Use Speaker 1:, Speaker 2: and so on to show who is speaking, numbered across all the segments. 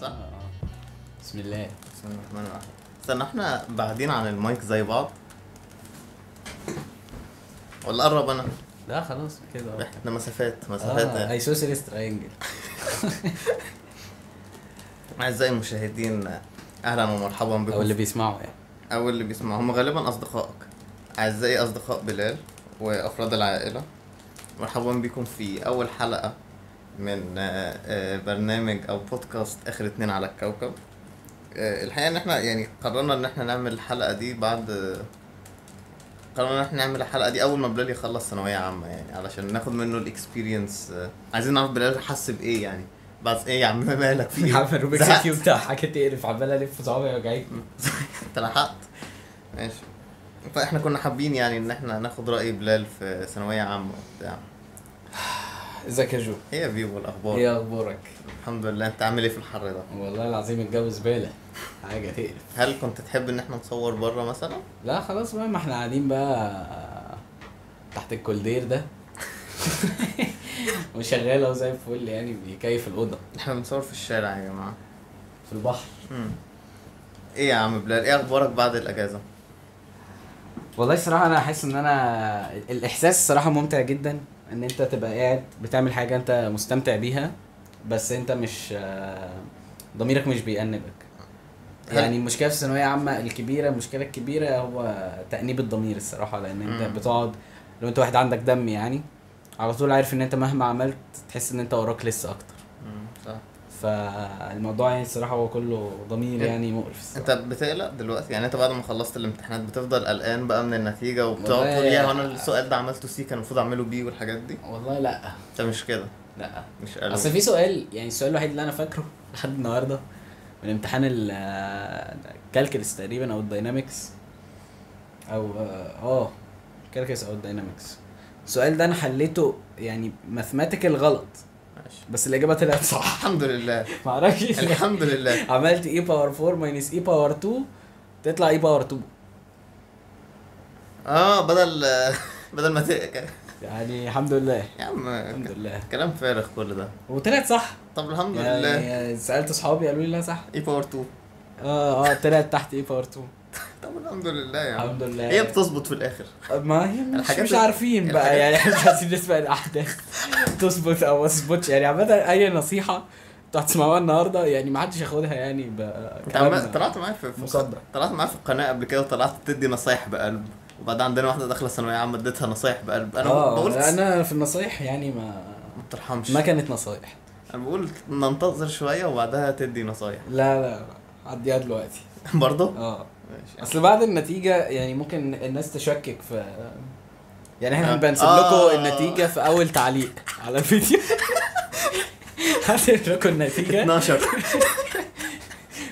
Speaker 1: صح؟
Speaker 2: بسم الله
Speaker 1: بسم الله الرحمن الرحيم استنى احنا بعدين عن المايك زي بعض ولا قرب انا
Speaker 2: لا خلاص كده أهو.
Speaker 1: احنا مسافات مسافات
Speaker 2: اه
Speaker 1: يعني.
Speaker 2: ايسوسيليس ترينجل
Speaker 1: اعزائي المشاهدين اهلا ومرحبا بكم
Speaker 2: او اللي بيسمعوا يعني
Speaker 1: او اللي بيسمعوا هم غالبا اصدقائك اعزائي اصدقاء بلال وافراد العائله مرحبا بكم في اول حلقه من آه، آه، برنامج او بودكاست اخر اتنين على الكوكب آه، الحقيقه ان احنا يعني قررنا ان احنا نعمل الحلقه دي بعد قررنا ان احنا نعمل الحلقه دي اول ما بلال يخلص ثانويه عامه يعني علشان ناخد منه الاكسبيرينس عايزين نعرف بلال حس بايه يعني بعد ايه يا عم مالك في إيه؟
Speaker 3: عارف الروبيكس
Speaker 1: زهقت.
Speaker 3: كيوب بتاع حاجه تقرف عمال الف صوابعي وجعي
Speaker 1: انت لحقت ماشي فاحنا كنا حابين يعني ان احنا ناخد راي بلال في ثانويه عامه وبتاع
Speaker 3: ازيك يا جو
Speaker 1: ايه يا بيبو الاخبار
Speaker 2: ايه اخبارك
Speaker 1: الحمد لله انت عامل ايه في الحر ده
Speaker 2: والله العظيم الجو زباله حاجه تقرف
Speaker 1: هل كنت تحب ان احنا نصور بره مثلا
Speaker 2: لا خلاص بقى ما احنا قاعدين بقى تحت الكولدير ده وشغاله وزي الفل يعني بيكيف الاوضه
Speaker 1: احنا بنصور في الشارع يا جماعه
Speaker 2: في البحر
Speaker 1: مم. ايه يا عم بلال ايه اخبارك بعد الاجازه
Speaker 3: والله الصراحه انا حاسس ان انا
Speaker 2: الاحساس الصراحه ممتع جدا ان انت تبقى قاعد بتعمل حاجه انت مستمتع بيها بس انت مش آه، ضميرك مش بيأنبك
Speaker 1: هل-
Speaker 2: يعني المشكله في الثانويه عامه الكبيره المشكله الكبيره هو تأنيب الضمير الصراحه لان
Speaker 1: مم.
Speaker 2: انت بتقعد لو انت واحد عندك دم يعني على طول عارف ان انت مهما عملت تحس ان انت وراك لسه اكتر
Speaker 1: مم، صح
Speaker 2: فالموضوع يعني الصراحه هو كله ضمير
Speaker 1: إيه؟
Speaker 2: يعني مقرف الصراحة.
Speaker 1: انت بتقلق دلوقتي يعني انت بعد ما خلصت الامتحانات بتفضل قلقان بقى من النتيجه وبتقعد
Speaker 2: والله
Speaker 1: تقول يا
Speaker 2: يا-
Speaker 1: هو انا السؤال ده عملته سي كان المفروض اعمله بي والحاجات دي
Speaker 2: والله لا
Speaker 1: انت مش كده
Speaker 2: لا
Speaker 1: مش قلق
Speaker 2: اصل في سؤال يعني السؤال الوحيد اللي انا فاكره لحد النهارده من امتحان ال- آه، الكالكلس تقريبا او الداينامكس او اه آه، الكالكلس او الداينامكس السؤال ده انا حليته يعني ماثماتيكال غلط
Speaker 1: ماشي.
Speaker 2: بس الاجابه طلعت صح
Speaker 1: الحمد لله
Speaker 2: معرفش ليه.
Speaker 1: الحمد لله
Speaker 2: عملت e اي باور 4 ماينس اي باور 2 تطلع e اي باور 2
Speaker 1: اه بدل بدل ما تقلق
Speaker 2: يعني الحمد لله
Speaker 1: يا عم
Speaker 2: الحمد لله
Speaker 1: كلام فارغ كل ده
Speaker 2: وطلعت صح
Speaker 1: طب الحمد لله E
Speaker 2: يعني سالت اصحابي قالوا لي لا صح
Speaker 1: اي باور 2
Speaker 2: اه اه طلعت تحت اي باور 2
Speaker 1: طب الحمد لله يا عم
Speaker 2: الحمد لله
Speaker 1: هي بتظبط في الاخر
Speaker 2: ما هي مش,
Speaker 1: الحاجات
Speaker 2: مش
Speaker 1: ال-
Speaker 2: عارفين
Speaker 1: الحاجات-
Speaker 2: بقى يعني احنا مش عايزين نسمع الاحداث تظبط او ما تظبطش يعني عامة اي نصيحة انتوا هتسمعوها النهارده يعني ما حدش ياخدها يعني
Speaker 1: انت عم-
Speaker 2: بكلامنا
Speaker 1: طلعت معايا في في-
Speaker 2: مصدق.
Speaker 1: طلعت معايا في القناه قبل كده وطلعت تدي نصايح بقلب وبعد عندنا واحده داخله ثانويه عامه اديتها نصايح بقلب انا بقول
Speaker 2: اه انا في النصايح يعني ما
Speaker 1: ما ترحمش
Speaker 2: ما كانت نصايح
Speaker 1: انا بقول ننتظر شويه وبعدها تدي نصايح
Speaker 2: لا لا لا عديها دلوقتي
Speaker 1: برضه
Speaker 2: اه
Speaker 1: ماشي
Speaker 2: اصل بعد النتيجة يعني ممكن الناس تشكك في يعني
Speaker 1: آه.
Speaker 2: احنا بنسيب
Speaker 1: آه.
Speaker 2: لكم النتيجة في اول تعليق على الفيديو هسيب لكم النتيجة
Speaker 1: 12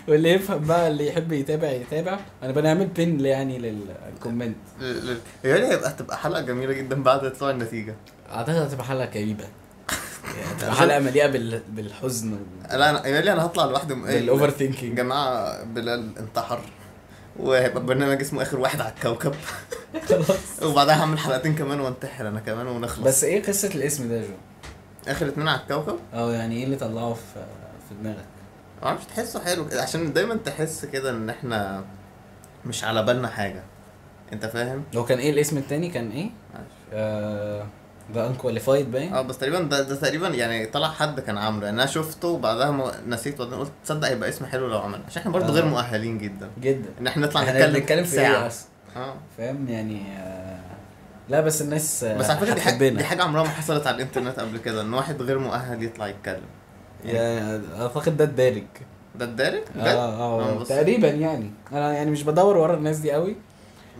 Speaker 2: واللي يفهم بقى اللي يحب يتابع يتابع انا بنعمل بين يعني للكومنت
Speaker 1: ل- ل- يعني هيبقى هتبقى حلقه جميله جدا بعد تطلع النتيجه
Speaker 2: اعتقد هتبقى حلقه كئيبه يعني هتبقى حلقه مليئه بال... بالحزن وال...
Speaker 1: لا انا يعني انا هطلع لوحدي وم-
Speaker 2: بالاوفر
Speaker 1: يا
Speaker 2: ثينكينج
Speaker 1: جماعة بلال انتحر وهيبقى برنامج اسمه آخر واحد على الكوكب
Speaker 2: خلاص
Speaker 1: وبعدها هعمل حلقتين كمان وانتحر أنا كمان ونخلص
Speaker 2: بس ايه قصه الاسم ده يا جو؟
Speaker 1: آخر اتنين على الكوكب
Speaker 2: اه يعني ايه اللي طلعه في في دماغك؟
Speaker 1: معرفش تحسه حلو كده عشان دايما تحس كده إن إحنا مش على بالنا حاجة أنت فاهم؟
Speaker 2: هو كان ايه الاسم التاني كان ايه؟
Speaker 1: معرفش.
Speaker 2: ذا انكواليفايد باين
Speaker 1: اه بس تقريبا ده, ده تقريبا يعني طلع حد كان عامله يعني انا شفته وبعدها ما نسيت وبعدين قلت تصدق هيبقى اسم حلو لو عمل عشان احنا برضه
Speaker 2: آه.
Speaker 1: غير مؤهلين جدا
Speaker 2: جدا
Speaker 1: ان احنا نطلع
Speaker 2: احنا
Speaker 1: نتكلم
Speaker 2: بنتكلم في ايه
Speaker 1: ساعه
Speaker 2: اصلا
Speaker 1: اه
Speaker 2: فاهم يعني آه، لا بس الناس آه،
Speaker 1: بس على فكره دي حاجه
Speaker 2: هتحبنا.
Speaker 1: دي حاجه عمرها ما حصلت على الانترنت قبل كده ان واحد غير مؤهل يطلع يتكلم
Speaker 2: يا- اعتقد يعني، آه، ده الدارج
Speaker 1: ده الدارج ده
Speaker 2: اه
Speaker 1: أنا
Speaker 2: اه
Speaker 1: بص-
Speaker 2: تقريبا يعني انا يعني مش بدور ورا الناس دي قوي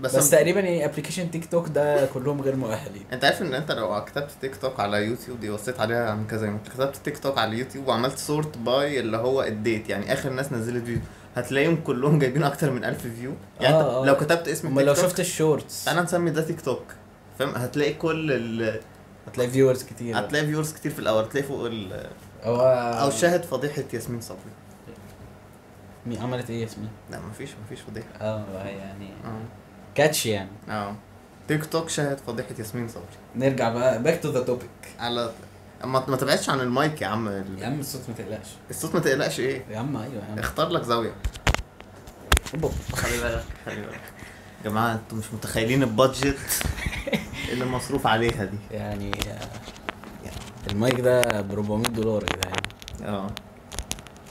Speaker 1: بس,
Speaker 2: بس, بس تقريبا يعني ابلكيشن تيك توك ده كلهم غير مؤهلين
Speaker 1: انت عارف ان انت لو كتبت تيك توك على يوتيوب دي وصيت عليها عن كذا يوم كتبت تيك توك على اليوتيوب وعملت سورت باي اللي هو الديت يعني اخر ناس نزلت فيديو هتلاقيهم كلهم جايبين اكتر من 1000 فيو يعني
Speaker 2: آه،
Speaker 1: آه
Speaker 2: آه.
Speaker 1: لو كتبت اسم
Speaker 2: اما
Speaker 1: التيك
Speaker 2: لو
Speaker 1: توك
Speaker 2: شفت الشورتس
Speaker 1: انا نسمي ده تيك توك فاهم هتلاقي كل ال...
Speaker 2: هتلاقي فيورز كتير
Speaker 1: هتلاقي فيورز كتير في الاول هتلاقي فوق ال...
Speaker 2: او
Speaker 1: او شاهد فضيحه ياسمين صبري
Speaker 2: مين عملت ايه اسمي
Speaker 1: لا مفيش مفيش فضيحه
Speaker 2: اه يعني
Speaker 1: اه
Speaker 2: كاتش يعني
Speaker 1: آه. اه تيك توك شاهد فضيحه ياسمين صبري
Speaker 2: نرجع بقى باك تو ذا توبيك
Speaker 1: على ما ما تبعدش عن المايك يا عم ال-
Speaker 2: يا عم الصوت ما تقلقش
Speaker 1: الصوت ما تقلقش ايه
Speaker 2: يا عم ايوه يا عم
Speaker 1: اختار لك زاويه
Speaker 2: أوبا.
Speaker 1: خلي بالك خلي بالك يا جماعه انتوا مش متخيلين البادجت اللي مصروف عليها دي
Speaker 2: يعني آه، المايك ده ب 400 دولار إيه يعني؟ يا جدعان
Speaker 1: اه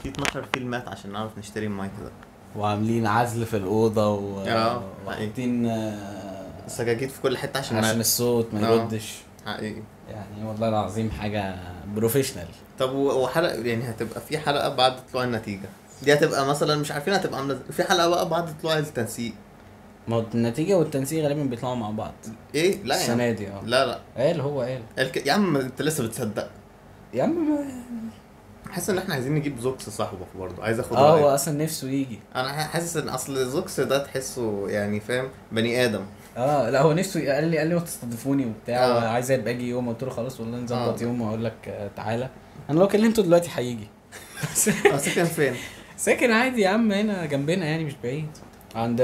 Speaker 1: في 12 فيل مات عشان نعرف نشتري المايك ده
Speaker 2: وعاملين عزل في الاوضه و...
Speaker 1: آه،
Speaker 2: وحاطين آه،
Speaker 1: سجاجيد في كل حته عشان
Speaker 2: عشان
Speaker 1: نعرف.
Speaker 2: الصوت ما
Speaker 1: آه. إيه.
Speaker 2: يردش
Speaker 1: حقيقي
Speaker 2: يعني والله العظيم حاجه بروفيشنال
Speaker 1: طب و- وحلقه يعني هتبقى في حلقه بعد طلوع النتيجه دي هتبقى مثلا مش عارفين هتبقى عامله ازاي في حلقه بقى بعد طلوع التنسيق
Speaker 2: ما هو النتيجه والتنسيق غالبا بيطلعوا مع بعض
Speaker 1: ايه لا يا عم.
Speaker 2: السنه دي اه
Speaker 1: لا لا
Speaker 2: قال هو قال
Speaker 1: الك- يا عم انت لسه بتصدق
Speaker 2: يا عم ما-
Speaker 1: حاسس ان احنا عايزين نجيب زوكس صاحبك برضه عايز اخد
Speaker 2: اه
Speaker 1: رأيك.
Speaker 2: هو اصلا نفسه يجي
Speaker 1: انا ح- حاسس ان اصل زوكس ده تحسه يعني فاهم بني ادم
Speaker 2: اه لا هو نفسه ي- قال لي قال لي ما تستضيفوني وبتاع
Speaker 1: آه.
Speaker 2: عايز ابقى اجي يوم قلت له خلاص والله نظبط
Speaker 1: آه.
Speaker 2: يوم واقول لك آه، تعالى انا لو كلمته دلوقتي هيجي
Speaker 1: اه ساكن فين
Speaker 2: ساكن عادي يا عم هنا جنبنا يعني مش بعيد عند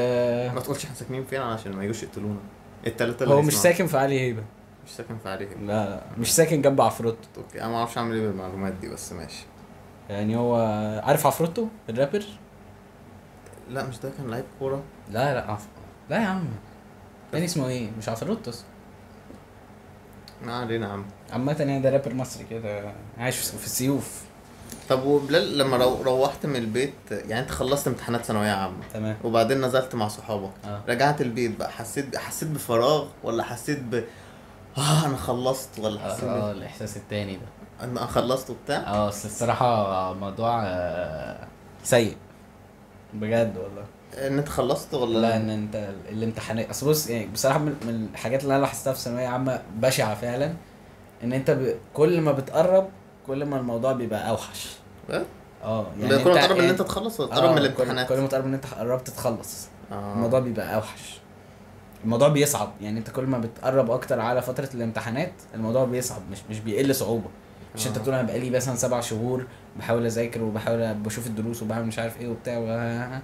Speaker 1: ما تقولش احنا ساكنين فين عشان ما يجوش يقتلونا التلاته اللي
Speaker 2: هو مش
Speaker 1: هيسمعوا.
Speaker 2: ساكن في علي هيبه
Speaker 1: مش ساكن في عليهم
Speaker 2: لا لا، مش ساكن جنب عفروتو
Speaker 1: اوكي انا ما اعرفش اعمل ايه بالمعلومات دي بس ماشي
Speaker 2: يعني هو عارف عفروتو الرابر
Speaker 1: لا مش ده كان لعيب كوره
Speaker 2: لا لا عف... لا يا عم تاني اسمه ايه مش عفروتو اسمه.
Speaker 1: ما علينا يا عم
Speaker 2: عامة يعني ده رابر مصري كده عايش في في السيوف
Speaker 1: طب وبلال لما رو... روحت من البيت يعني انت خلصت امتحانات ثانويه عامه
Speaker 2: تمام
Speaker 1: وبعدين نزلت مع صحابك
Speaker 2: اه
Speaker 1: رجعت البيت بقى حسيت ب... حسيت بفراغ ولا حسيت ب اه انا خلصت ولا حسيت
Speaker 2: اه
Speaker 1: ب...
Speaker 2: الاحساس التاني ده
Speaker 1: انا خلصت وبتاع
Speaker 2: اه اصل الصراحة موضوع آه، سيء بجد والله
Speaker 1: ان انت خلصت ولا
Speaker 2: لا ان انت الامتحانات اصل بص يعني بصراحة من من الحاجات اللي انا لاحظتها في ثانوية عامة بشعة فعلا ان انت ب... كل ما بتقرب كل ما الموضوع بيبقى اوحش
Speaker 1: إيه؟
Speaker 2: اه
Speaker 1: يعني كل ما تقرب ان انت تخلص ولا تقرب
Speaker 2: آه،
Speaker 1: من
Speaker 2: كل-
Speaker 1: الامتحانات
Speaker 2: كل ما تقرب ان انت قربت تخلص
Speaker 1: آه.
Speaker 2: الموضوع بيبقى اوحش الموضوع بيصعب يعني انت كل ما بتقرب اكتر على فتره الامتحانات الموضوع بيصعب مش مش بيقل صعوبه مش انت
Speaker 1: آه.
Speaker 2: بتقول انا بقالي مثلا سبع شهور بحاول اذاكر وبحاول بشوف الدروس وبعمل مش عارف ايه وبتاع و...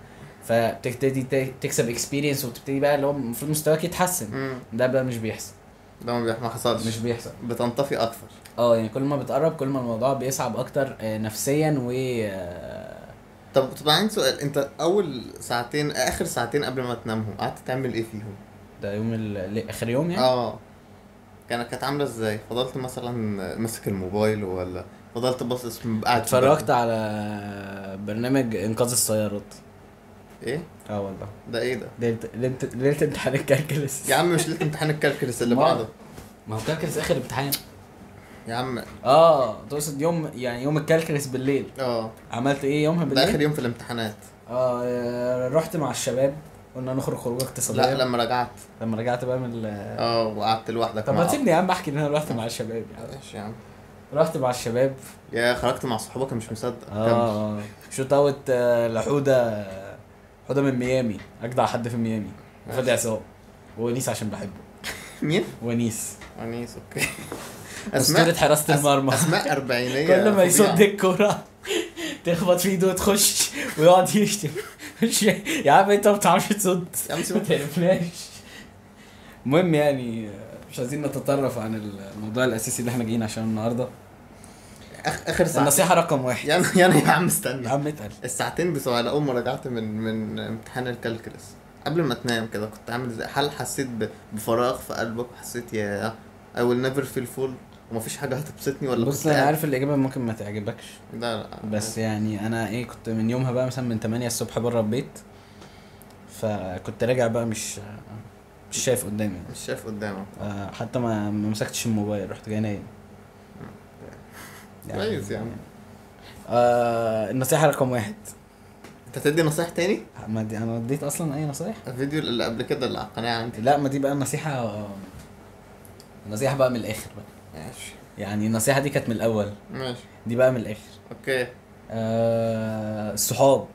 Speaker 2: فبتبتدي ت- تكسب اكسبيرينس وبتبتدي بقى اللي هو المفروض مستواك يتحسن
Speaker 1: مم.
Speaker 2: ده بقى مش بيحصل
Speaker 1: ده ما بيح- ما حصلش
Speaker 2: مش بيحصل
Speaker 1: بتنطفي اكثر
Speaker 2: اه يعني كل ما بتقرب كل ما الموضوع بيصعب اكتر آه، نفسيا و آه،
Speaker 1: طب طب عندي سؤال انت اول ساعتين اخر ساعتين قبل ما تنامهم قعدت تعمل ايه فيهم؟
Speaker 2: ده يوم ال... اخر يوم يعني
Speaker 1: اه كانت كانت عامله ازاي؟ فضلت مثلا ماسك الموبايل ولا فضلت باصص قاعد في
Speaker 2: اتفرجت على برنامج انقاذ السيارات
Speaker 1: البلكونة؟ ايه؟
Speaker 2: اه والله
Speaker 1: ده ايه ده؟
Speaker 2: ليله ليله ليله امتحان الكالكلس
Speaker 1: يا عم مش ليله امتحان الكالكلس اللي
Speaker 2: ما-
Speaker 1: بعده
Speaker 2: ما هو كالكلس اخر امتحان
Speaker 1: يا عم
Speaker 2: اه تقصد يوم يعني يوم الكالكلس بالليل
Speaker 1: اه
Speaker 2: عملت ايه يومها
Speaker 1: ده
Speaker 2: بالليل؟
Speaker 1: اخر يوم في الامتحانات
Speaker 2: اه رحت مع الشباب قلنا نخرج خروجه اقتصاديه
Speaker 1: لا لما رجعت
Speaker 2: لما رجعت بقى من ال...
Speaker 1: اه وقعدت لوحدك
Speaker 2: طب
Speaker 1: مع-
Speaker 2: ما تسيبني يا عم احكي ان انا رحت مع الشباب يعني
Speaker 1: ماشي يا عم
Speaker 2: رحت مع الشباب
Speaker 1: يا خرجت مع صحابك مش مصدق كمل.
Speaker 2: اه شوت اوت آه، لحوده حوده من ميامي اجدع حد في ميامي وفادي عصام ونيس عشان بحبه
Speaker 1: مين؟
Speaker 2: ونيس
Speaker 1: انيس اوكي
Speaker 2: اسطوره حراسه
Speaker 1: أس-
Speaker 2: المرمى
Speaker 1: اسماء اربعينيه
Speaker 2: كل ما
Speaker 1: فظيعة.
Speaker 2: يصد الكرة تخبط في ايده وتخش ويقعد يشتم مش- يا عم انت ما بتعرفش تصد
Speaker 1: يا عم سيبك
Speaker 2: ما تعرفناش المهم يعني مش عايزين نتطرف عن الموضوع الاساسي اللي احنا جايين عشان النهارده
Speaker 1: آخ- اخر ساعتين
Speaker 2: النصيحه رقم واحد
Speaker 1: يعني يعني يا عم
Speaker 2: يا
Speaker 1: استنى
Speaker 2: عم اتقل
Speaker 1: الساعتين بتوع اول ما رجعت من من امتحان الكالكلس قبل ما تنام كده كنت عامل ازاي هل حسيت ب- بفراغ في قلبك وحسيت يا I will never feel full ومفيش حاجه هتبسطني ولا
Speaker 2: بص
Speaker 1: كنت
Speaker 2: انا
Speaker 1: قاعد-
Speaker 2: عارف الاجابه ممكن ما تعجبكش
Speaker 1: لا لا
Speaker 2: بس يعني انا ايه كنت من يومها بقى مثلا من 8 الصبح بره البيت فكنت راجع بقى مش مش شايف قدامي
Speaker 1: مش شايف قدامك
Speaker 2: آه، حتى ما ما مسكتش الموبايل رحت جاي نايم يعني-
Speaker 1: كويس يا عم.
Speaker 2: آه النصيحة رقم واحد
Speaker 1: انت تدي نصايح تاني
Speaker 2: ما دي انا اديت اصلا اي نصايح
Speaker 1: الفيديو اللي قبل كده اللي على القناه عندي
Speaker 2: لا ما دي بقى النصيحة النصيحة بقى من الاخر بقى
Speaker 1: ماشي
Speaker 2: يعني النصيحة دي كانت من الاول
Speaker 1: ماشي
Speaker 2: دي بقى من الاخر
Speaker 1: اوكي
Speaker 2: آه، الصحاب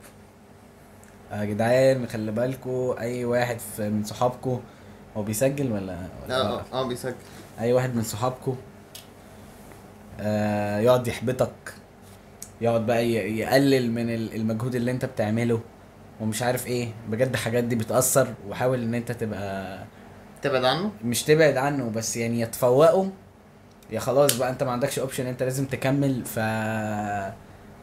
Speaker 2: آه، يا جدعان خلي بالكوا اي واحد في- من صحابكوا هو بيسجل ولا ولا
Speaker 1: اه
Speaker 2: لا؟
Speaker 1: اه بيسجل
Speaker 2: اي واحد من صحابكوا آه، يقعد يحبطك يقعد بقى ي- يقلل من ال- المجهود اللي انت بتعمله ومش عارف ايه بجد الحاجات دي بتأثر وحاول ان انت تبقى
Speaker 1: تبعد عنه
Speaker 2: مش تبعد عنه بس يعني يتفوقوا يا خلاص بقى انت ما عندكش اوبشن انت لازم تكمل ف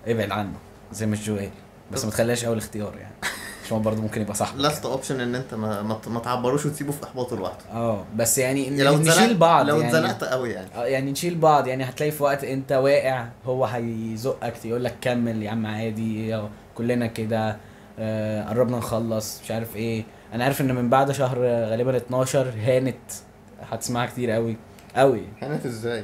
Speaker 2: ابعد عنه زي ما جويل بس ما تخليهاش اول اختيار يعني عشان هو برضه ممكن يبقى صاحبك
Speaker 1: لاست
Speaker 2: يعني.
Speaker 1: اوبشن ان انت ما, ما ت- ما تعبروش وتسيبه في احباطه لوحده
Speaker 2: اه بس يعني
Speaker 1: يعني لو
Speaker 2: ن- نشيل
Speaker 1: اتزنقت-
Speaker 2: بعض
Speaker 1: لو
Speaker 2: يعني
Speaker 1: اتزنقت قوي يعني
Speaker 2: اه يعني نشيل بعض يعني هتلاقي في وقت انت واقع هو هيزقك يقول لك كمل يا عم عادي يا- كلنا كده آه، قربنا نخلص مش عارف ايه انا عارف ان من بعد شهر آه، غالبا 12 هانت هتسمعها كتير قوي قوي
Speaker 1: كانت ازاي؟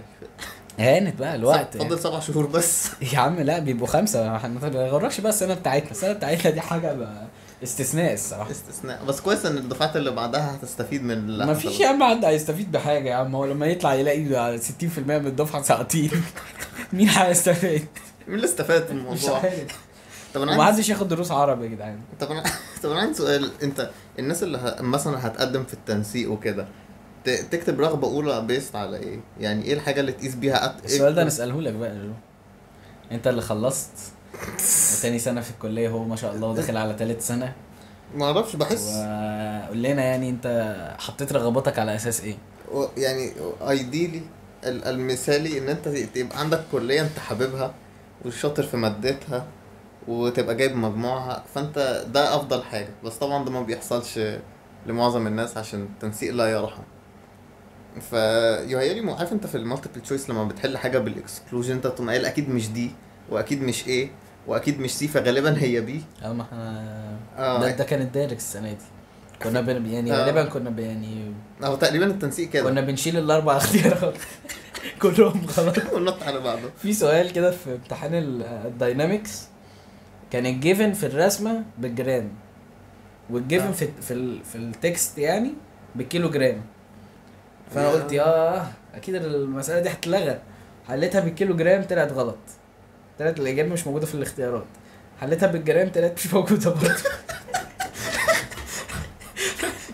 Speaker 2: هانت بقى الوقت يعني.
Speaker 1: فضل سبع شهور بس
Speaker 2: يا عم لا بيبقوا خمسه احنا ما تغركش بقى السنه بتاعتنا السنه بتاعتنا دي حاجه بقى استثناء الصراحه
Speaker 1: استثناء بس كويس ان الدفعات اللي بعدها هتستفيد من اللي
Speaker 2: ما
Speaker 1: حصل.
Speaker 2: فيش يا عم حد هيستفيد بحاجه يا عم هو لما يطلع يلاقي 60% من الدفعه ساقطين مين هيستفيد؟
Speaker 1: مين اللي استفاد من
Speaker 2: مش
Speaker 1: الموضوع؟
Speaker 2: عارف
Speaker 1: طب انا عندي
Speaker 2: ومحدش ياخد دروس عربي يا جدعان
Speaker 1: طب انا طب انا عندي سؤال انت الناس اللي ه... مثلا هتقدم في التنسيق وكده ت... تكتب رغبه اولى بيست على ايه؟ يعني ايه الحاجه اللي تقيس بيها أت...
Speaker 2: السؤال ده نساله لك بقى يا جو انت اللي خلصت وتاني سنه في الكليه هو ما شاء الله داخل على تالت سنه
Speaker 1: ما اعرفش بحس
Speaker 2: وقول لنا يعني انت حطيت رغباتك على اساس ايه
Speaker 1: و... يعني ايديلي ال... المثالي ان انت ت- تبقى عندك كليه انت حاببها وشاطر في مادتها وتبقى جايب مجموعها فانت ده افضل حاجه بس طبعا ده ما بيحصلش لمعظم الناس عشان التنسيق لا يرحم فيهيألي مو- عارف انت في المالتيبل تشويس لما بتحل حاجه بالاكسكلوجن انت تقوم قايل اكيد مش دي واكيد مش ايه واكيد مش سي فغالبا هي بي
Speaker 2: اه ما احنا ده,
Speaker 1: اه
Speaker 2: ده كان الدارك السنه دي كنا بن يعني
Speaker 1: آه.
Speaker 2: غالبا كنا بن- يعني
Speaker 1: هو تقريبا التنسيق كده
Speaker 2: كنا بنشيل الاربع اختيارات كلهم غلط
Speaker 1: ونط على بعضه
Speaker 2: في سؤال كده في امتحان ال- الداينامكس كان الجيفن في الرسمه بالجرام والجيفن
Speaker 1: آه.
Speaker 2: في في ال- في التكست يعني بالكيلو جرام فانا قلت ياه اكيد المساله دي هتتلغى حليتها بالكيلو جرام طلعت غلط طلعت الاجابه مش موجوده في الاختيارات حليتها بالجرام طلعت مش موجوده برضه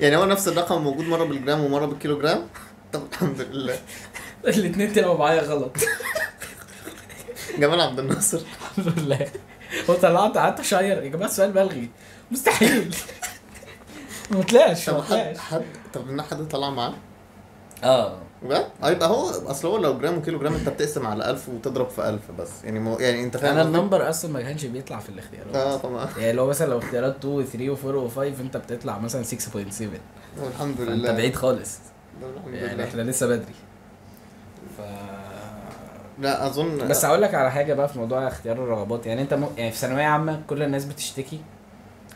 Speaker 1: يعني هو نفس الرقم موجود مره بالجرام ومره بالكيلوجرام طب الحمد لله
Speaker 2: الاثنين طلعوا معايا غلط
Speaker 1: جمال عبد الناصر
Speaker 2: الحمد لله وطلعت قعدت اشير يا جماعه السؤال ملغي مستحيل ما طلعش
Speaker 1: طب
Speaker 2: ما
Speaker 1: حد
Speaker 2: طلعش
Speaker 1: حد طب ان حد طلع معاه
Speaker 2: اه
Speaker 1: بجد؟ اه يبقى هو اصل هو لو جرام وكيلو جرام انت بتقسم على 1000 وتضرب في 1000 بس يعني مو يعني انت فاهم
Speaker 2: انا
Speaker 1: قصدي؟
Speaker 2: النمبر اصلا ما كانش بيطلع في
Speaker 1: اه
Speaker 2: الاختيارات
Speaker 1: طبعا
Speaker 2: يعني لو مثلا لو اختيارات 2 و 3 و 4 و 5 انت بتطلع مثلا 6.7
Speaker 1: طب الحمد
Speaker 2: فانت
Speaker 1: لله
Speaker 2: بعيد خالص
Speaker 1: طب الحمد
Speaker 2: يعني
Speaker 1: لله
Speaker 2: احنا لسه بدري ف
Speaker 1: لا اظن
Speaker 2: بس هقول لك على حاجه بقى في موضوع اختيار الرغبات يعني انت م... يعني في ثانويه عامه كل الناس بتشتكي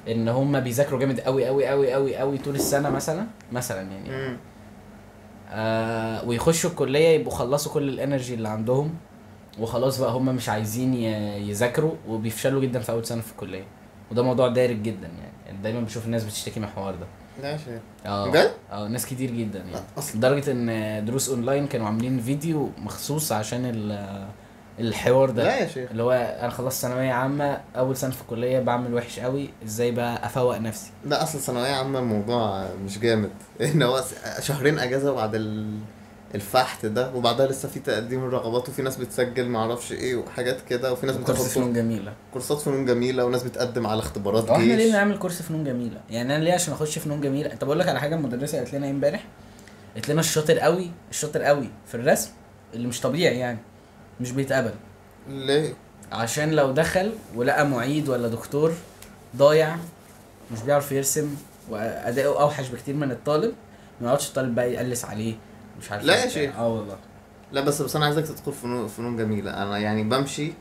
Speaker 2: ان هم بيذاكروا جامد قوي قوي قوي قوي قوي طول السنه مثلا مثلا يعني
Speaker 1: مم.
Speaker 2: آه ويخشوا الكليه يبقوا خلصوا كل الانرجي اللي عندهم وخلاص بقى هم مش عايزين ي- يذاكروا وبيفشلوا جدا في اول سنه في الكليه وده موضوع دارج جدا يعني, يعني دايما بشوف الناس بتشتكي من الحوار ده
Speaker 1: لا شيء
Speaker 2: اه
Speaker 1: بجد؟
Speaker 2: اه ناس كتير جدا يعني
Speaker 1: اصل
Speaker 2: لدرجه ان دروس اونلاين كانوا عاملين فيديو مخصوص عشان ال- الحوار ده
Speaker 1: لا يا شيخ
Speaker 2: اللي هو انا خلصت ثانويه عامه اول سنه في الكليه بعمل وحش قوي ازاي بقى افوق نفسي
Speaker 1: لا اصل ثانويه عامه الموضوع مش جامد ان هو س- شهرين اجازه بعد ال... الفحت ده وبعدها لسه في تقديم الرغبات وفي ناس بتسجل معرفش ايه وحاجات كده وفي ناس
Speaker 2: كورس
Speaker 1: بتاخد
Speaker 2: فنون جميله
Speaker 1: كورسات فنون جميله وناس بتقدم على اختبارات
Speaker 2: هو احنا ليه
Speaker 1: جيش
Speaker 2: نعمل كورس فنون جميله؟ يعني انا ليه عشان اخش فنون جميله؟ طب اقول لك على حاجه المدرسه قالت لنا إيه امبارح قالت لنا الشاطر قوي الشاطر قوي في الرسم اللي مش طبيعي يعني مش بيتقبل
Speaker 1: ليه
Speaker 2: عشان لو دخل ولقى معيد ولا دكتور ضايع مش بيعرف يرسم وادائه اوحش بكتير من الطالب ما يقعدش الطالب بقى يقلس عليه مش عارف
Speaker 1: لا
Speaker 2: إيه
Speaker 1: يا
Speaker 2: وبتاع.
Speaker 1: شيخ.
Speaker 2: اه والله
Speaker 1: لا بس بس انا عايزك تدخل فنون فنون جميله انا يعني بمشي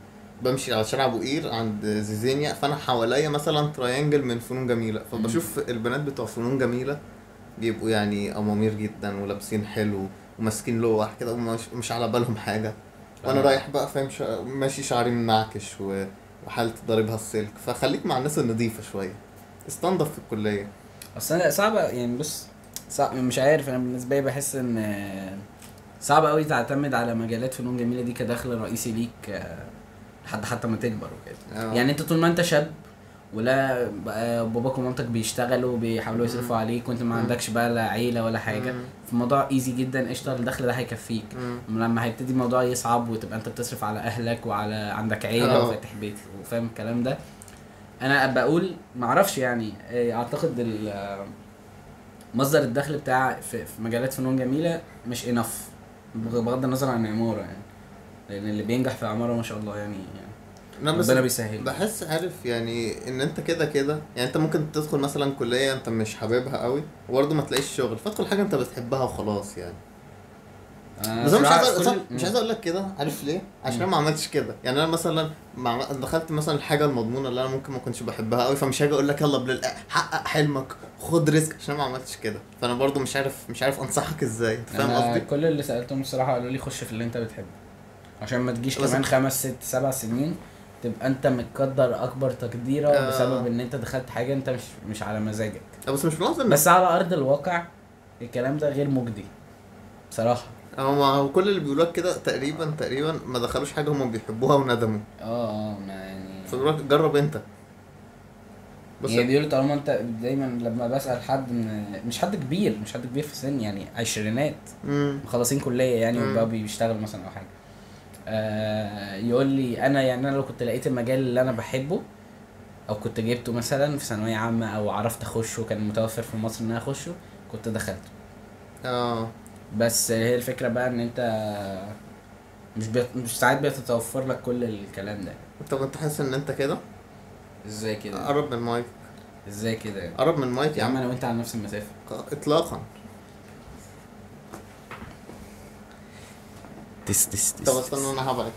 Speaker 1: بمشي على شارع ابو قير عند زيزينيا فانا حواليا مثلا ترينجل من فنون جميله فبشوف البنات بتوع فنون جميله بيبقوا يعني امامير جدا ولابسين حلو وماسكين لوح كده ومش مش على بالهم حاجه وانا
Speaker 2: آه.
Speaker 1: رايح بقى فاهم شا... ماشي شعري منعكش و... وحالتي ضاربها السلك فخليك مع الناس النظيفه شويه استنضف في الكليه
Speaker 2: اصل انا صعبه يعني بص صعب مش عارف انا بالنسبه لي بحس ان آه، صعب قوي تعتمد على مجالات فنون جميله دي كدخل رئيسي ليك آه، لحد حتى ما تكبر وكده
Speaker 1: آه.
Speaker 2: يعني انت طول ما انت شاب ولا بقى باباك ومامتك بيشتغلوا بيحاولوا يصرفوا عليك وانت ما
Speaker 1: مم.
Speaker 2: عندكش بقى لا عيله ولا حاجه
Speaker 1: مم.
Speaker 2: فالموضوع ايزي جدا قشطه الدخل ده هيكفيك
Speaker 1: مم.
Speaker 2: لما هيبتدي الموضوع يصعب وتبقى انت بتصرف على اهلك وعلى عندك عيله
Speaker 1: اه.
Speaker 2: وفاتح بيت وفاهم الكلام ده انا بقول معرفش يعني اه، اعتقد ال- اه، مصدر الدخل بتاع في في مجالات فنون جميله مش انف بغ- بغض النظر عن العماره يعني لان اللي بينجح في عماره ما شاء الله يعني, يعني
Speaker 1: لا بس
Speaker 2: ربنا بيسهل
Speaker 1: بحس عارف يعني ان انت كده كده يعني انت ممكن تدخل مثلا كليه انت مش حاببها قوي وبرضه ما تلاقيش شغل فادخل حاجه انت بتحبها وخلاص يعني
Speaker 2: أنا
Speaker 1: بس انا مش
Speaker 2: صراحة
Speaker 1: عايز أقول-
Speaker 2: كل-
Speaker 1: صح- مش عايز اقول لك كده عارف ليه؟ عشان أنا ما عملتش كده يعني انا مثلا ما عم- دخلت مثلا الحاجه المضمونه اللي انا ممكن ما كنتش بحبها قوي فمش هاجي اقول لك يلا بلال حقق حلمك خد ريسك عشان أنا ما عملتش كده فانا برضو مش عارف مش عارف انصحك ازاي انت فاهم
Speaker 2: أنا
Speaker 1: قصدي؟
Speaker 2: كل اللي سالتهم الصراحه قالوا لي خش في اللي انت بتحبه عشان ما تجيش
Speaker 1: بس-
Speaker 2: كمان خمس ست سبع سنين تبقى انت متقدر اكبر تقديره
Speaker 1: آه.
Speaker 2: بسبب ان انت دخلت حاجه انت مش مش على مزاجك
Speaker 1: أه بس مش بنقصد ان
Speaker 2: بس على ارض الواقع الكلام ده غير مجدي بصراحه
Speaker 1: هو ما هو كل اللي بيقولوا لك كده تقريبا تقريبا ما دخلوش حاجه هم بيحبوها وندموا
Speaker 2: اه اه ما يعني
Speaker 1: فبيقولوا لك جرب انت بس
Speaker 2: يعني بيقولوا طالما انت دايما لما بسال حد من مش حد كبير مش حد كبير في السن يعني عشرينات
Speaker 1: مم.
Speaker 2: مخلصين كليه يعني
Speaker 1: مم.
Speaker 2: وبقى بيشتغل مثلا او حاجه آه يقول لي انا يعني انا لو كنت لقيت المجال اللي انا بحبه او كنت جبته مثلا في ثانويه عامه او عرفت اخشه كان متوفر في مصر ان انا اخشه كنت دخلته
Speaker 1: اه
Speaker 2: بس هي الفكره بقى ان انت مش بيت... مش ساعات بيتوفر لك كل الكلام ده
Speaker 1: طب انت حاسس ان انت كده؟
Speaker 2: ازاي كده
Speaker 1: قرب من المايك
Speaker 2: ازاي كده يعني
Speaker 1: قرب من المايك
Speaker 2: يا
Speaker 1: يا
Speaker 2: عم
Speaker 1: عم
Speaker 2: انا وانت على نفس المسافه
Speaker 1: اطلاقا
Speaker 2: تس تس تس
Speaker 1: طب استنى انا هبعد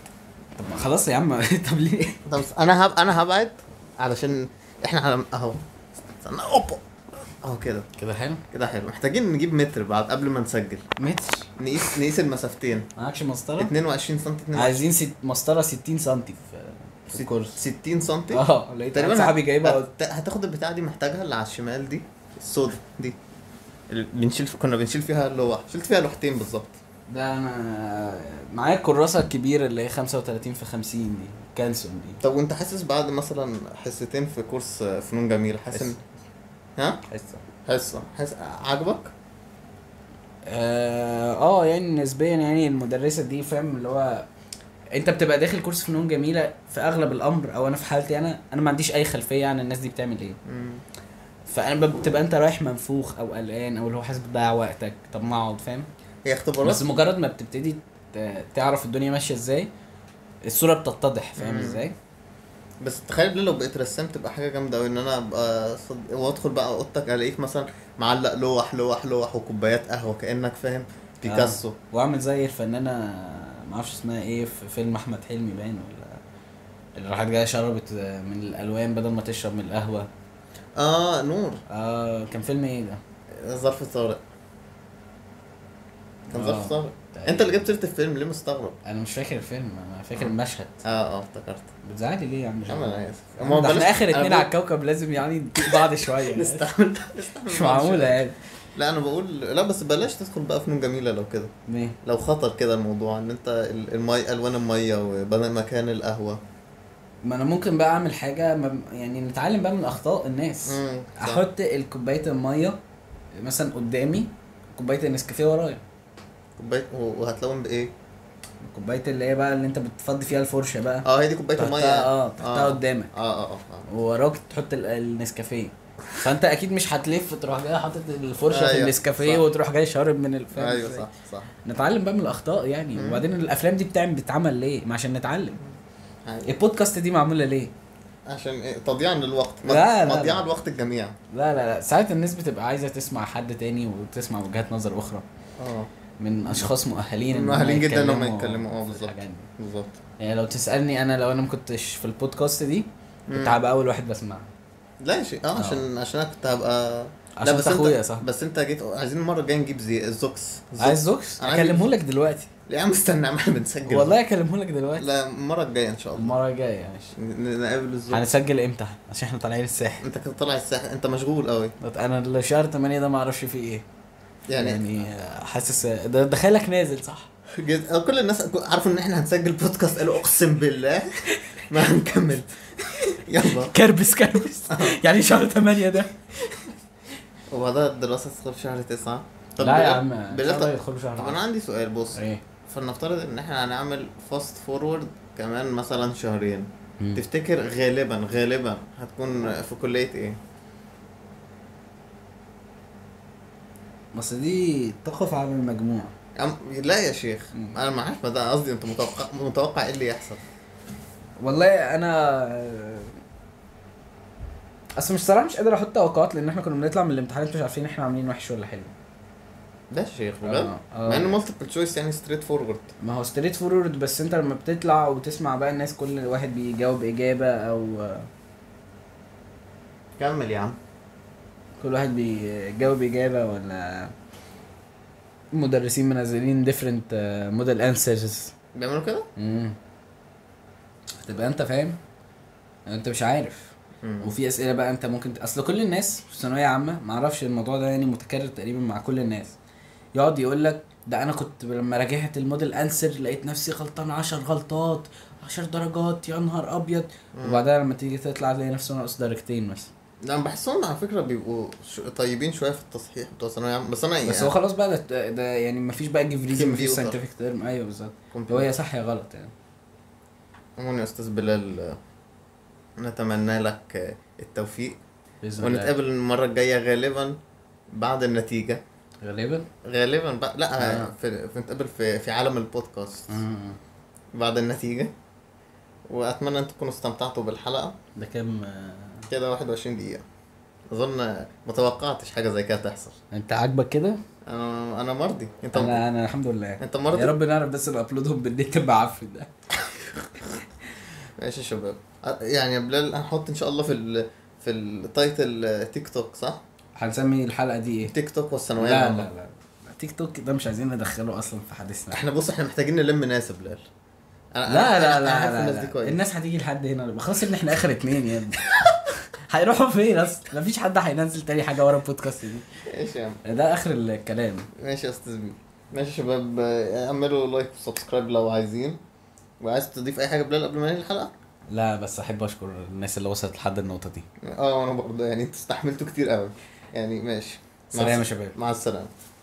Speaker 2: طب ما خلاص يا عم طب ليه
Speaker 1: طب انا هب... انا هبعد علشان احنا على اهو استنى اوبا اهو كده
Speaker 2: كده حلو
Speaker 1: كده حلو محتاجين نجيب متر بعد قبل ما نسجل
Speaker 2: متر
Speaker 1: نقيس نقيس المسافتين
Speaker 2: معكش مسطره
Speaker 1: 22 سم 22
Speaker 2: عايزين ست... مسطره 60 سم في في الكورس
Speaker 1: 60 سم
Speaker 2: اه لقيت واحد صاحبي جايبها قلت-
Speaker 1: هت... هتاخد البتاعه دي محتاجها اللي على الشمال دي السودا دي اللي بنشيل كنا بنشيل فيها اللوحه شلت فيها لوحتين بالظبط
Speaker 2: ده انا معايا الكراسه الكبيره اللي هي 35 في 50 دي كانسون دي
Speaker 1: طب وانت حاسس بعد مثلا حصتين في كورس آه، فنون جميله حاسس ان
Speaker 2: حصة.
Speaker 1: ها
Speaker 2: حصه
Speaker 1: حصه حاسس عاجبك
Speaker 2: اه آه، يعني نسبيا يعني المدرسه دي فاهم اللي هو انت بتبقى داخل كورس فنون جميله في اغلب الامر او انا في حالتي انا انا ما عنديش اي خلفيه عن الناس دي بتعمل ايه
Speaker 1: مم.
Speaker 2: فانا ب- بتبقى انت رايح منفوخ او قلقان او اللي هو حاسس بتضيع وقتك طب ما اقعد فاهم
Speaker 1: هي اختبارات
Speaker 2: بس مجرد ما بتبتدي ت- تعرف الدنيا ماشيه ازاي الصوره بتتضح فاهم
Speaker 1: مم.
Speaker 2: ازاي
Speaker 1: بس تخيل بلي لو بقيت رسام تبقى حاجه جامده قوي ان انا ابقى صد... وادخل بقى اوضتك الاقيك مثلا معلق لوح لوح لوح وكوبايات قهوه كانك
Speaker 2: آه.
Speaker 1: فاهم بيكاسو
Speaker 2: واعمل زي الفنانه ما اعرفش اسمها ايه في فيلم احمد حلمي باين ولا اللي راحت جايه شربت من الالوان بدل ما تشرب من القهوه
Speaker 1: اه, آه نور
Speaker 2: اه كان فيلم ايه ده
Speaker 1: ظرف طارق كان
Speaker 2: آه.
Speaker 1: ظرف طارق انت اللي جبت سيره الفيلم ليه مستغرب
Speaker 2: انا مش فاكر الفيلم انا فاكر المشهد
Speaker 1: اه اه افتكرت
Speaker 2: بتزعلي ليه يا عم
Speaker 1: يا عم
Speaker 2: جمال؟
Speaker 1: انا اسف
Speaker 2: ده احنا اخر اتنين على
Speaker 1: على
Speaker 2: الكوكب لازم يعني نديك بعض شويه يعني.
Speaker 1: نستحمل نستحمل
Speaker 2: مش معقوله يعني
Speaker 1: لا انا بقول لا بس بلاش تدخل بقى فنون جميله لو كده
Speaker 2: ليه؟
Speaker 1: لو خطر كده الموضوع ان انت ال- المي الوان الميه وبنى مكان القهوه
Speaker 2: ما انا ممكن بقى اعمل حاجه ما يعني نتعلم بقى من اخطاء الناس
Speaker 1: مم، صح.
Speaker 2: احط الكوبايه الميه مثلا قدامي كوبايه النسكافيه ورايا
Speaker 1: كوبايه و- وهتلون بايه؟
Speaker 2: الكوبايه اللي هي بقى اللي انت بتفضي فيها الفرشه بقى
Speaker 1: اه هي دي كوبايه الميه
Speaker 2: تحطها اه تحطها
Speaker 1: آه.
Speaker 2: قدامك
Speaker 1: اه اه اه
Speaker 2: ووراك تحط ال- النسكافيه فانت اكيد مش هتلف تروح جاي حاطط الفرشه في
Speaker 1: أيوة،
Speaker 2: النسكافيه
Speaker 1: صح.
Speaker 2: وتروح جاي شارب من الفم
Speaker 1: ايوه صح صح
Speaker 2: نتعلم بقى من الاخطاء يعني
Speaker 1: مم.
Speaker 2: وبعدين الافلام دي بتعمل بتتعمل ليه ما عشان نتعلم
Speaker 1: أيوة.
Speaker 2: البودكاست دي معموله ليه
Speaker 1: عشان إيه؟ تضييع للوقت
Speaker 2: لا، لا، لا.
Speaker 1: مضيعه لوقت الجميع
Speaker 2: لا لا لا ساعات الناس بتبقى عايزه تسمع حد تاني وتسمع وجهات نظر اخرى
Speaker 1: اه
Speaker 2: من اشخاص مؤهلين إن هم
Speaker 1: مؤهلين جدا لما
Speaker 2: يتكلموا
Speaker 1: يتكلموا، آه،
Speaker 2: في
Speaker 1: بالظبط.
Speaker 2: الحاجات دي.
Speaker 1: بالظبط
Speaker 2: يعني لو تسالني انا لو انا ما كنتش في البودكاست دي كنت
Speaker 1: مم.
Speaker 2: هبقى اول واحد بسمعها
Speaker 1: لا شيء اه عشان عشان انا كنت هبقى
Speaker 2: آه. عشان
Speaker 1: بس
Speaker 2: أنت أخويا
Speaker 1: انت
Speaker 2: يا صاحبي.
Speaker 1: بس انت جيت عايزين المره الجايه نجيب زي الزوكس زوكس.
Speaker 2: عايز زوكس
Speaker 1: أنا عايز-
Speaker 2: اكلمه لك دلوقتي
Speaker 1: لا يا عم استنى ما احنا بنسجل
Speaker 2: والله اكلمه لك دلوقتي
Speaker 1: لا المره الجايه ان شاء الله
Speaker 2: المره الجايه ماشي
Speaker 1: ن- نقابل الزوكس
Speaker 2: هنسجل امتى عشان احنا طالعين الساحل
Speaker 1: انت كنت طالع الساحل انت مشغول قوي
Speaker 2: انا اللي شهر 8 ده ما اعرفش فيه ايه
Speaker 1: يعني, يعني...
Speaker 2: يعني آه، حاسس ده ده خيالك نازل صح
Speaker 1: جز... آه، كل الناس عارفوا ان احنا هنسجل بودكاست قالوا اقسم بالله ما هنكمل يلا
Speaker 2: كربس
Speaker 1: آه.
Speaker 2: كربس يعني شهر 8 ده
Speaker 1: هو ده الدراسة تدخل في شهر تسعة
Speaker 2: لا يا
Speaker 1: بلال-
Speaker 2: عم
Speaker 1: بلال
Speaker 2: إن شاء الله
Speaker 1: طب-
Speaker 2: يدخلوا شهر
Speaker 1: طب انا عندي سؤال بص
Speaker 2: عشرة. ايه
Speaker 1: فلنفترض ان احنا هنعمل فاست فورورد كمان مثلا شهرين
Speaker 2: مم.
Speaker 1: تفتكر غالبا غالبا هتكون في كلية ايه؟
Speaker 2: بس دي تقف على المجموع
Speaker 1: أم... لا يا شيخ
Speaker 2: مم.
Speaker 1: انا ما عارف ما ده قصدي انت متوقع متوقع ايه اللي يحصل
Speaker 2: والله انا اصل مش صراحه مش قادر احط توقعات لان احنا كنا بنطلع من الامتحان مش عارفين احنا عاملين وحش ولا حلو
Speaker 1: ده يا شيخ بجد
Speaker 2: آه،
Speaker 1: مع
Speaker 2: آه.
Speaker 1: انه مالتيبل تشويس يعني ستريت فورورد
Speaker 2: ما هو ستريت فورورد بس انت لما بتطلع وتسمع بقى الناس كل واحد بيجاوب آه، اجابه او
Speaker 1: كمل يا عم
Speaker 2: كل واحد بيجاوب اجابه ولا مدرسين منزلين different آه، model answers
Speaker 1: بيعملوا كده؟
Speaker 2: امم هتبقى انت فاهم انت مش عارف
Speaker 1: مم.
Speaker 2: وفي اسئله بقى انت ممكن ت- اصل كل الناس في ثانويه عامه ما اعرفش الموضوع ده يعني متكرر تقريبا مع كل الناس يقعد يقول لك ده انا كنت لما راجعت الموديل انسر لقيت نفسي غلطان 10 غلطات 10 درجات يا نهار ابيض
Speaker 1: مم.
Speaker 2: وبعدها لما تيجي تطلع تلاقي نفسه ناقص درجتين مثلا
Speaker 1: لا أنا بحسهم على فكره بيبقوا ش- طيبين شويه في التصحيح بتوع ثانويه عامه بس انا يعني
Speaker 2: بس هو خلاص بقى ده, ده يعني مفيش بقى جيف ريزن مفيش
Speaker 1: كمبيوتر.
Speaker 2: ساينتفك تيرم ايوه بالظبط
Speaker 1: كنت
Speaker 2: هو يا صح يا غلط يعني
Speaker 1: عموما يا استاذ بلال آه، نتمنى لك آه، التوفيق
Speaker 2: باذن الله
Speaker 1: ونتقابل المره الجايه غالبا بعد النتيجه
Speaker 2: غالبا
Speaker 1: غالبا بقى لا آه.
Speaker 2: آه.
Speaker 1: في... في نتقابل في... في عالم البودكاست
Speaker 2: آه.
Speaker 1: بعد النتيجه واتمنى ان تكونوا استمتعتوا بالحلقه
Speaker 2: ده كام آه،
Speaker 1: كده 21 دقيقه اظن آه، ما توقعتش حاجه زي كده تحصل
Speaker 2: انت عاجبك كده؟
Speaker 1: انا انا مرضي انت
Speaker 2: انا انا الحمد لله
Speaker 1: انت مرضي
Speaker 2: يا رب نعرف بس نابلودهم بالنت بعفن ده
Speaker 1: ماشي يا شباب أ- يعني يا بلال هنحط ان شاء الله في ال... في التايتل آه، تيك توك صح
Speaker 2: هنسمي الحلقه دي ايه؟
Speaker 1: تيك توك والثانويه
Speaker 2: لا لا
Speaker 1: العامه
Speaker 2: لا تيك توك ده مش عايزين ندخله اصلا في حديثنا
Speaker 1: احنا بص احنا محتاجين نلم ناس يا بلال
Speaker 2: لا
Speaker 1: أنا-
Speaker 2: لا
Speaker 1: أنا-
Speaker 2: لا,
Speaker 1: أنا عارف
Speaker 2: لا,
Speaker 1: الناس
Speaker 2: لا,
Speaker 1: دي كويس
Speaker 2: الناس هتيجي لحد هنا خلاص ان احنا اخر اتنين يا ابني هيروحوا فين اصلا مفيش حد هينزل تاني حاجه ورا البودكاست دي
Speaker 1: ايش يا عم
Speaker 2: ده اخر الكلام
Speaker 1: ماشي يا استاذ بيه ماشي يا شباب آه، اعملوا لايك وسبسكرايب لو عايزين وعايز تضيف اي حاجه يا بلال قبل ما ننهي الحلقه
Speaker 2: لا بس احب اشكر الناس اللي وصلت لحد النقطه دي
Speaker 1: آه، اه انا برضه يعني انتوا استحملتوا كتير قوي يعني ماشي مع
Speaker 2: سلام يا
Speaker 1: الس-
Speaker 2: شباب
Speaker 1: مع السلامه